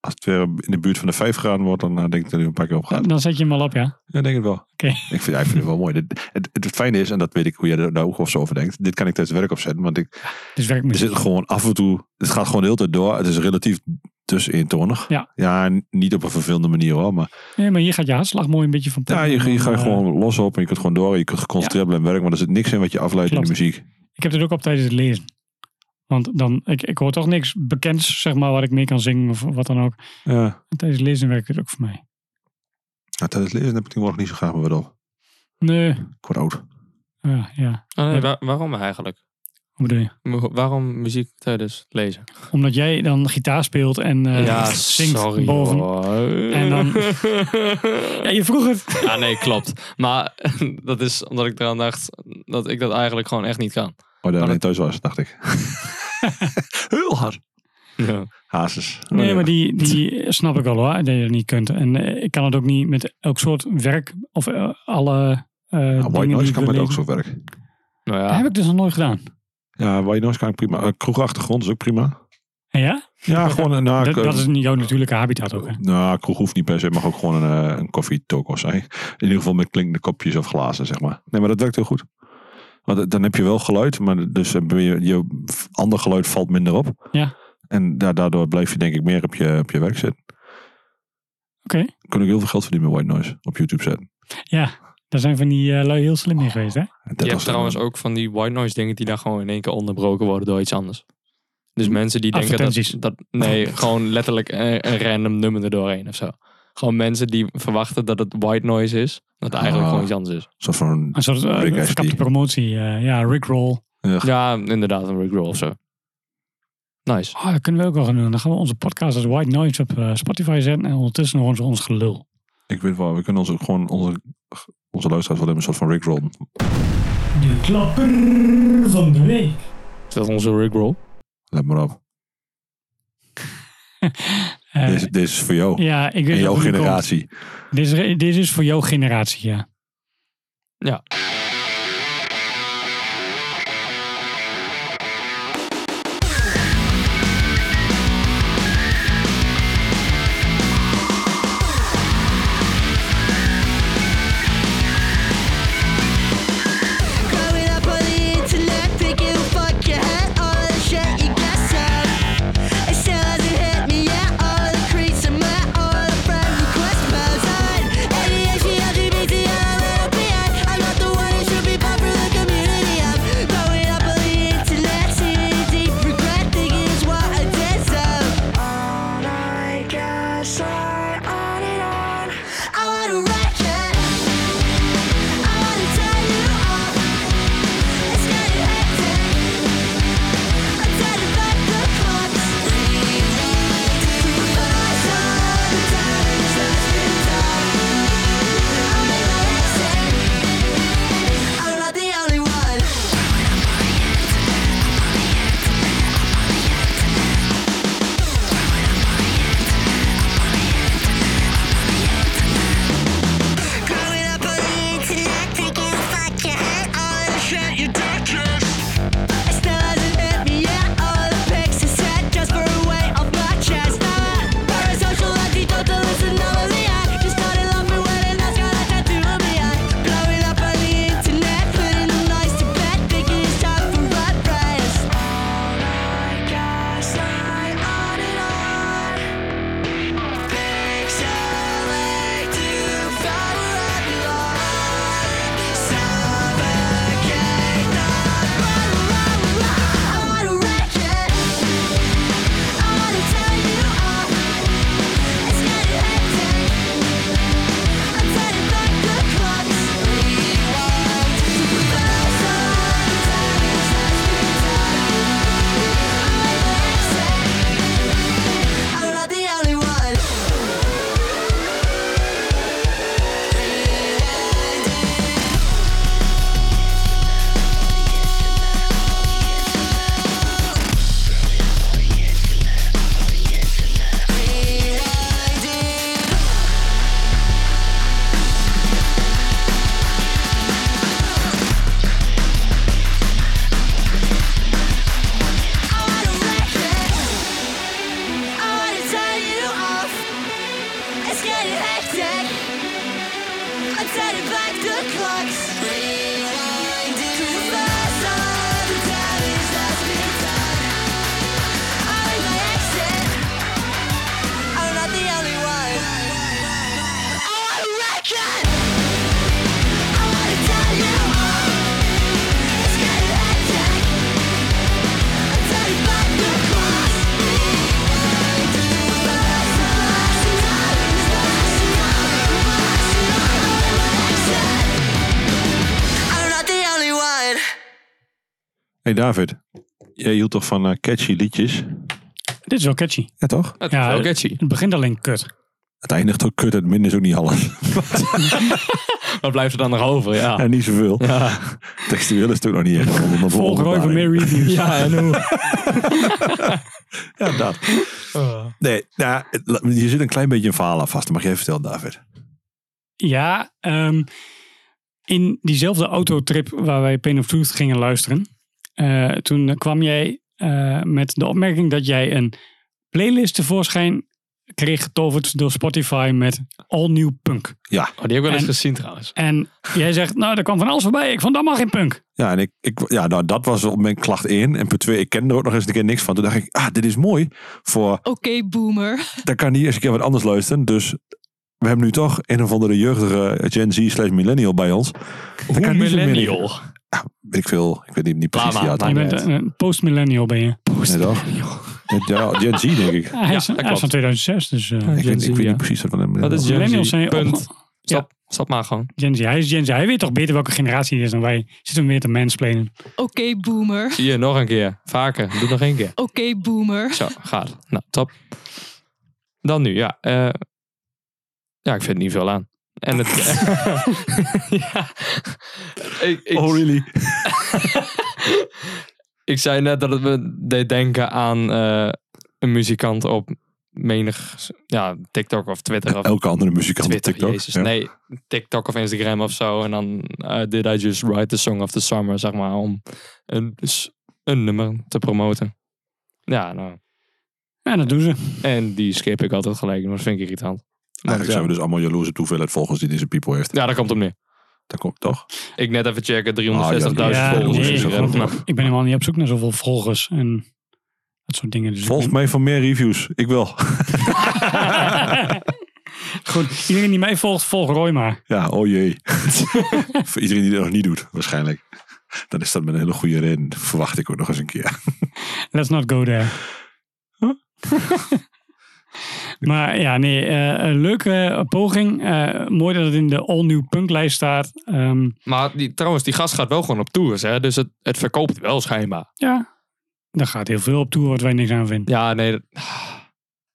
als het weer in de buurt van de 5 graden wordt, dan eh, denk ik dat hij een paar keer op gaat. Dan zet je hem al op, ja. Ja, ik denk het wel. Oké. Ik, vind, ja, ik vind het wel mooi. Dit- het, het, het fijne is, en dat weet ik hoe jij daar ook of zo over denkt, dit kan ik tijdens het werk opzetten, want ik, Dus werk er zit gewoon af en toe, het gaat gewoon de hele tijd door. Het is relatief dus eentonig. Ja. Ja, n- niet op een vervelende manier hoor, maar Nee, maar hier gaat je hartslag mooi een beetje van ja, je, je gaat Eh, gewoon los op en je kunt gewoon door. en Je kunt geconcentreerd blijven werken, maar er zit niks in wat je afleidt in de Klopt. muziek. Ik heb dit ook op tijdens het lezen. Want dan, ik, ik hoor toch niks bekends, zeg maar, wat ik mee kan zingen of wat dan ook. Ja, En tijdens het lezen werkt het ook voor mij. nou, tijdens het lezen heb ik tegenwoordig niet zo graag meer wat op. Nee, Ik word oud. Oh, Ah, ja, Oh, nee, Ja. waar- waarom eigenlijk? hoe bedoel je? Mo- Waarom muziek tijdens lezen? Omdat jij dan gitaar speelt en eh, zingt boven. hoor. En dan- Ja, je vroeg het. Ja, nee, klopt. Maar dat is omdat ik eraan dacht dat ik dat eigenlijk gewoon echt niet kan. Oh, daar Maar alleen dat- thuis was, dacht ik. Heel hard. Nou Hazes. Nee, maar die, die snap ik al hoor, dat je dat niet kunt. En eh, ik kan het ook niet met elk soort werk of eh, alle eh Ja, dingen Ah, white die noise ik kan wil met ook lezen. zo werk. Nou Dat heb ja, ik dus nog nooit gedaan. Ja, white noise kan ik prima. Eh, kroegachtergrond is ook prima. En ja? Ja, gewoon een... Nou, dat, ik, eh, dat is jouw natuurlijke habitat ook. Hè? nou, kroeg hoeft niet per se. Het mag ook gewoon een, eh, een koffietoko zijn. In ieder geval met klinkende kopjes of glazen, zeg maar. Nee, maar dat werkt heel goed. Want eh, dan heb je wel geluid, maar dus eh, ben je, je ander geluid valt minder op. Ja. En da- daardoor blijf je denk ik meer op je, op je werk zitten. Oké. Kun ik heel veel geld verdienen met white noise op YouTube zetten. Ja, daar zijn van die eh, lui heel slim in geweest, hè? En dat je hebt was- trouwens ook van die white noise dingen die daar gewoon in één keer onderbroken worden door iets anders. Dus mensen die denken dat, Mm. Advertenties. dat... Nee, gewoon letterlijk een, een random nummer erdoorheen of zo. Gewoon mensen die verwachten dat het white noise is. Dat het eigenlijk Ah. gewoon iets anders is. Zo van Een soort eh, Rick Astley. verkapte promotie. eh, ja, Rickroll. Ja, inderdaad, een Rick Roll of zo. Nice. Ah, dat kunnen we ook wel gaan doen. Dan gaan we onze podcast als White Noise op eh, Spotify zetten. En ondertussen nog ons, ons gelul. Ik weet wel, we kunnen ons ook gewoon onze, onze luisteraars wel even een soort van Rickroll. De klapper van de week. Is dat onze Rick Roll? Let maar op. Deze, deze is voor jou. Eh, ja, ik weet en dat jouw het nu komt. generatie. Dit is, dit is voor jouw generatie, ja. Ja. Growing up on the internet, thinking fuck your head, all of the shit you get said. It still hasn't hit me yet, all of the creeps I met, all of the friends request about time. ADHD, LGBT, I'm a little behind. I'm not the one who should be part of the community. I'm growing up on the internet, seeing deep regret, thinking it's what I did, so. All I guess I on and on. I wanna wreck it. I wanna tell you all. It's getting hectic. I'm turning back the clock. Cause sometimes I've been done. I made my exit. I'm not the only one. Growing up on the internet, thinking fuck your head, all the shit you digest. It still hasn't hit me yet, all the pics are set just for a way off my chest. I'm a parasocial anti-totalist anomaly. I just started loving when and that's got a tattoo on me. I'm blowing up on the internet, putting the lies to bed, thinking it's time for my prayers. All I got is I'm on and on. I'm not the only one. I'm not the only one. I wanna wreck it. I wanna tell you all. It's getting hectic. I'm turning back the clock. I'm not the only one. Hey David, jij hield toch van eh, catchy liedjes? Dit is wel catchy. Ja toch? Het Ja, is wel eh, catchy. Het begint alleen kut. Het eindigt ook kut, het min is ook niet alles. Wat blijft er dan nog over? Ja. Oh, En niet zoveel. Textueel is het ook nog niet echt. een onder- Volg Roy van onderbaring. meer reviews. Ja, en hoe? Ja, dat. Oh. Nee, nou, het- la- je zit een klein beetje een verhaal aan vast. Dat mag jij vertellen, David. Ja, ehm, in diezelfde autotrip waar wij Pain of Truth gingen luisteren, eh, toen kwam jij eh, met de opmerking dat jij een playlist tevoorschijn kreeg getoverd door Spotify met all new punk. Oh, die heb ik wel eens En- gezien trouwens. En jij zegt, nou, daar kwam van alles voorbij. Ik vond allemaal geen punk. Ja, en ik, ik, ja nou, dat was op mijn klacht 1. En punt 2, ik kende er ook nog eens een keer niks van. Toen dacht ik, ah, dit is mooi. Voor, Oké, boomer. dan kan hier eens een keer wat anders luisteren. Dus we hebben nu toch een of andere jeugdige Gen Z slash millennial bij ons. Hoe millennial? Ik, veel, ik weet niet, niet precies Lama, die had. maar- Je Ah, bent net. een een post-millennial ben je. Nee, toch? Ja, Gen Z denk ik. hij, is, dat hij is van klopt. 2006, dus eh, Ik Gen weet, Z, ik weet ja. niet precies wat van hem Dat is Gen Millennials Z. zijn Punt. op- Stop, stop maar gewoon. Gen Z. Hij is Gen Z. Hij weet toch beter welke generatie hij is dan wij. Zitten we meer te mansplainen. Oké, boomer. Zie je, nog een keer. Vaker. Doe nog één keer. Oké, boomer. Zo, gaat. Nou, top. Dan nu, ja. eh, ja, ik vind er niet veel aan. En het... ja. Ik, ik, Oh, really? ik zei net dat het me deed denken aan eh, een muzikant op menig ja, TikTok of Twitter. Of Elke andere muzikant Twitter, op TikTok. jezus. ja. Nee, TikTok of Instagram of zo. En dan eh, Did I Just Write the Song of the Summer, zeg maar. Om een, dus een nummer te promoten. Ja, nou... Ja, dat doen ze. En die skip ik altijd gelijk, want dat vind ik irritant. Eigenlijk ja. zijn we dus allemaal jaloers op de hoeveelheid volgers die deze people heeft. Ja, daar komt hem neer. Dat komt toch? Ik net even checken, 360.000 Ah, Ja, Ja, volgers. nee, is ik, het ben- ook Nou, ik ben helemaal niet op zoek naar zoveel volgers en dat soort dingen. Dus ik Volg ben- mij voor meer reviews. Ik wil. Goed, iedereen die mij volgt, volg Roy maar. Ja, oh jee. voor iedereen die dat nog niet doet, waarschijnlijk. Dan is dat met een hele goede reden. Verwacht ik ook nog eens een keer. Let's not go there. maar ja, nee, eh, een leuke eh, poging. Eh, mooi dat het in de all-new punklijst staat. Ehm, Maar die, trouwens, die gast gaat wel gewoon op tours, hè? Dus het, het verkoopt wel schijnbaar. ja, daar gaat heel veel op toe wat wij niks aan vinden. Ja, nee. Dat, Ah,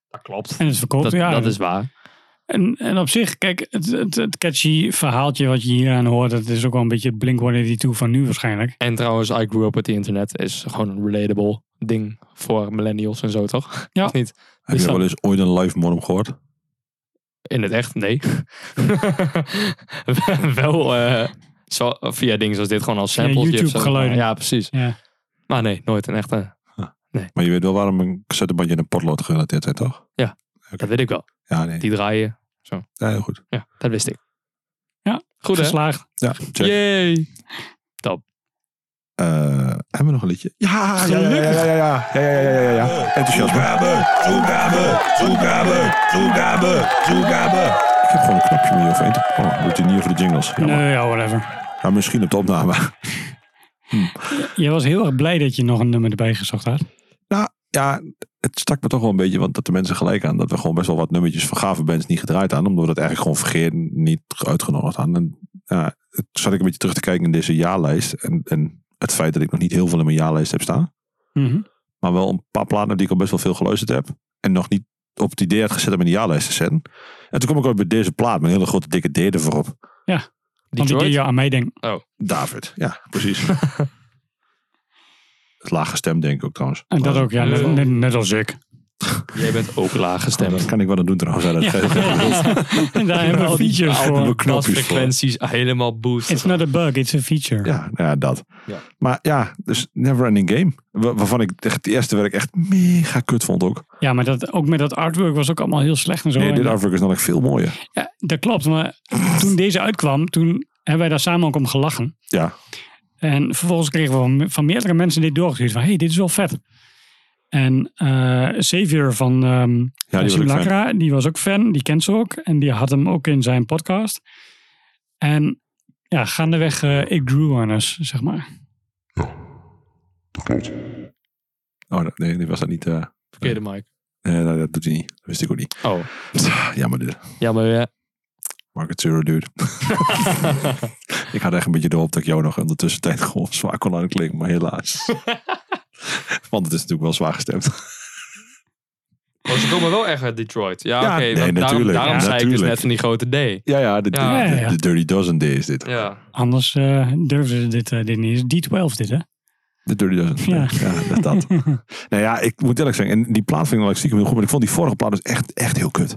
dat klopt. En het verkoopt, Dat, ja. dat is waar. En, en op zich, kijk, het, het, het catchy verhaaltje wat je hier aan hoort, dat is ook wel een beetje het Blink-182 van nu waarschijnlijk. En trouwens, I grew up with the internet is gewoon een relatable ding voor millennials en zo, toch? Ja. Of niet? Heb Is je dat- wel eens ooit een live morm gehoord? In het echt, nee. wel eh, zo, via dingen zoals dit, gewoon als Ja, samples. YouTube-geluiden. Ja, precies. Ja. Maar nee, nooit een echte. Maar je weet wel waarom een cassettebandje en een potlood gerelateerd zijn, toch? Dat weet ik wel. Ja, nee. Die draaien. Ja, heel goed. Ja, dat wist ik. Ja, Goed hè? Geslaagd. Ja, check. Yay. Eh, hebben we nog een liedje? Ja, ja, ja, ja, ja, ja, ja, ja, ja, ja, ja, ja. Enthousiasme. Ik heb gewoon een knopje meer overheen te... Oh, doet hij niet over de jingles. Jammer. Nee, ja, whatever. Ja, misschien op de opname. Je was heel erg blij dat je nog een nummer erbij gezocht had. Ja, het stak me toch wel een beetje, want dat de mensen gelijk aan dat we gewoon best wel wat nummertjes van gave bands niet gedraaid hadden, omdat we dat eigenlijk gewoon vergeten niet uitgenodigd hadden. En ja, het zat ik een beetje terug te kijken in deze jaarlijst en, en het feit dat ik nog niet heel veel in mijn jaarlijst heb staan, Mhm. maar wel een paar platen die ik al best wel veel geluisterd heb en nog niet op het idee had gezet om in de jaarlijst te zetten. En toen kom ik ook bij deze plaat met een hele grote dikke D ervoor op. Want ik deed je aan mij denken. David, ja, precies. het lage stem denk ik ook trouwens. En dat ook, ja. Net, net- net als ik. Jij bent ook laag Daar gestemd. kan ik wat aan doen trouwens. Ja, dat geeft- En daar hebben we features voor. knopjes voor. frequenties helemaal boost. It's not a bug, it's a feature. Ja, nou ja, dat. Ja. Maar ja, dus Never Ending Game. wa- Waarvan ik echt het eerste werk echt mega kut vond ook. Ja, maar dat, ook met dat artwork was ook allemaal heel slecht en zo. nee, dit En- artwork is dan echt veel mooier. ja, dat klopt, maar toen deze uitkwam, toen hebben wij daar samen ook om gelachen. Ja. En vervolgens kregen we van, van meerdere mensen dit doorgestuurd. Van, hey, dit is wel vet. En eh Xavier van ehm, Ja, die was ook fan. Simulacra, die was ook fan. Die kent ze ook. En die had hem ook in zijn podcast. En ja, gaandeweg, eh ik drew on us, zeg maar. Oh nee, die was dat niet. eh, Verkeerde mic. nee, dat, dat doet hij niet. Dat wist ik ook niet. Oh, eh, Jammer dit. jammer weer. Market zero, dude. ik had echt een beetje de hoop dat ik jou nog ondertussen tijd gewoon zwaar kon aanklinken. Maar helaas. Want het is natuurlijk wel zwaar gestemd. Oh, ze komen wel echt uit Detroit. Ja, Ja, oké. nee, want daarom natuurlijk. daarom Ja, zei ik dus natuurlijk. net van die grote D. Ja, ja. De, de- Ja, ja, ja. de Dirty Dozen Day is dit. Ja. Anders eh durfden ze dit, eh, dit niet. Het is D12 dit, hè? De Dirty Dozen. Ja. Ja, dat. dat. nou ja, ik moet eerlijk zeggen, en die plaat vind ik wel echt stiekem heel goed, maar ik vond die vorige plaat dus echt, echt heel kut.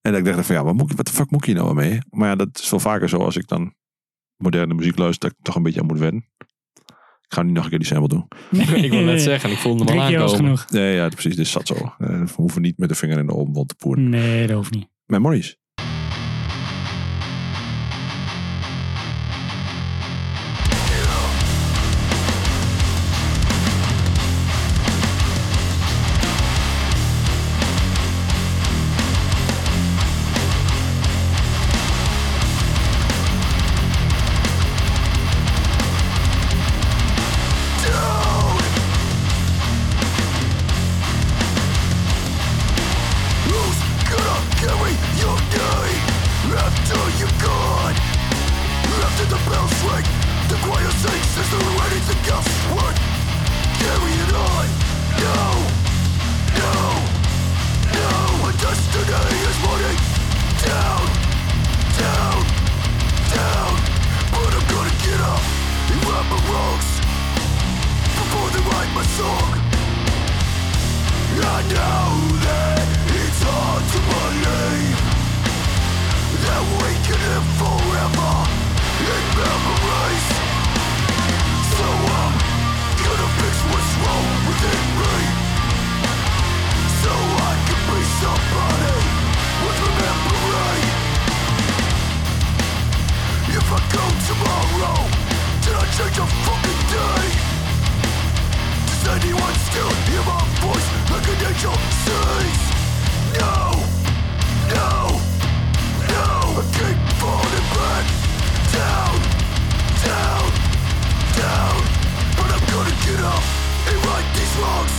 En dat ik dacht van ja, wat, moet, ik- wat de fuck moet ik hier nou wel mee? Maar ja, dat is wel vaker zo als ik dan moderne muziek luister, dat ik toch een beetje aan moet wennen. Ik ga nu nog een keer die sample doen. ik wil net zeggen, ik voelde hem Drie al keer was aankomen. genoeg. Nee, ja, precies, dit zat zo. Eh, we hoeven niet met de vinger in de openwond te poeren. Nee, dat hoeft niet. Memories. I mistakes, there's no anything else worth carrying on. No, no, no, my destiny is running down, down, down. But I'm gonna get up and right my wrongs before they write my song. I know that it's hard to believe that we can live forever in memories. So I'm gonna fix what's wrong within me, so I can be somebody with remembering. If I go tomorrow, did I change a fucking day? Does anyone still hear my voice like an angel sings? No, no. I keep falling back down, down, down. But I'm gonna get up and right these wrongs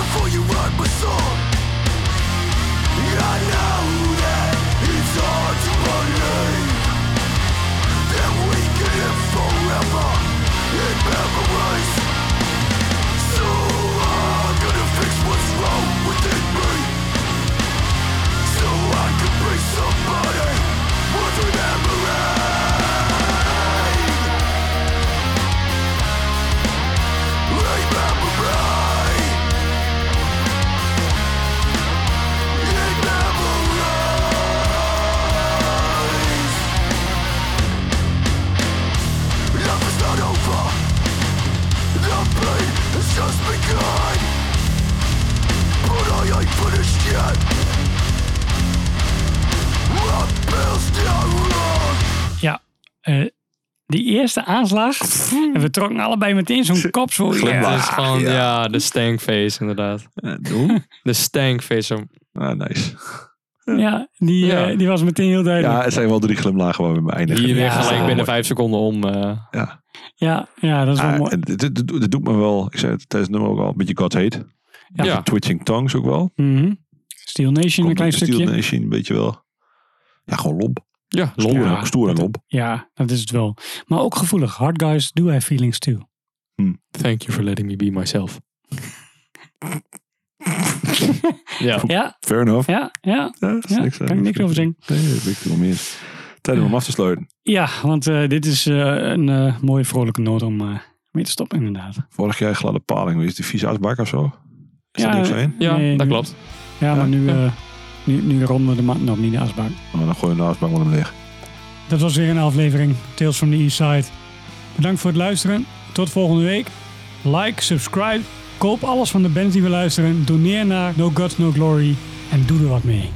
before you write my song. I know that it's hard to believe that we can live forever in memories. So I'm gonna fix what's wrong within me. So I can be somebody worth remembering. Remembering. In memories. Love is not over. The pain has just begun. But I ain't finished yet. Rock bills down wrong. Ja, eh, die eerste aanslag. en we trokken allebei meteen zo'n kop zo. Het Ja, is gewoon, ja. ja. de stankface inderdaad. Eh, Doe. De stankface. zo- Ah, nice. ja, die, Ja. eh, die was meteen heel duidelijk. Ja, het zijn wel drie glimlachen waar we mee eindigen. Hier weer Ja. gelijk binnen vijf seconden om. eh, Ja. Ja, ja, dat is wel Ah, mooi. en dit, dit, dit- dit doet me wel, ik zei het tijdens het nummer ook al, een beetje God Hate. ja. Ja. Twitching Tongues ook wel. Mhm. Steel Nation een Komt klein in Steel stukje. Nation, weet je wel. Ja, gewoon lomp. Ja, Stoer, Londen. en- stoer en lomp. Ja, dat is het wel. Maar ook gevoelig. Hard guys do have feelings too. Thank you for letting me be myself. ja. Ja, Fair enough. ja, ja. Ja, is ja. niks, Kan ik niks over zeggen. Nee, daar ben ik het wel mee eens. Tijd om hem af te sluiten. Ja, want eh, dit is eh, een eh, mooie vrolijke noot om eh, mee te stoppen inderdaad. Vorig jaar gladde paling. Is die vieze asbak of zo? Is Ja, dat niks heen? Ja, Nee, dat nu- klopt. Ja, maar nu, eh, nu, nu ronden we de matten op, niet de asbak. Nou, dan gooi je de asbak maar hem leeg. Dat was weer een aflevering Tales from the East Side. Bedankt voor het luisteren. Tot volgende week. Like, subscribe, koop alles van de bands die we luisteren. Doneer naar No Gods No Glory en doe er wat mee.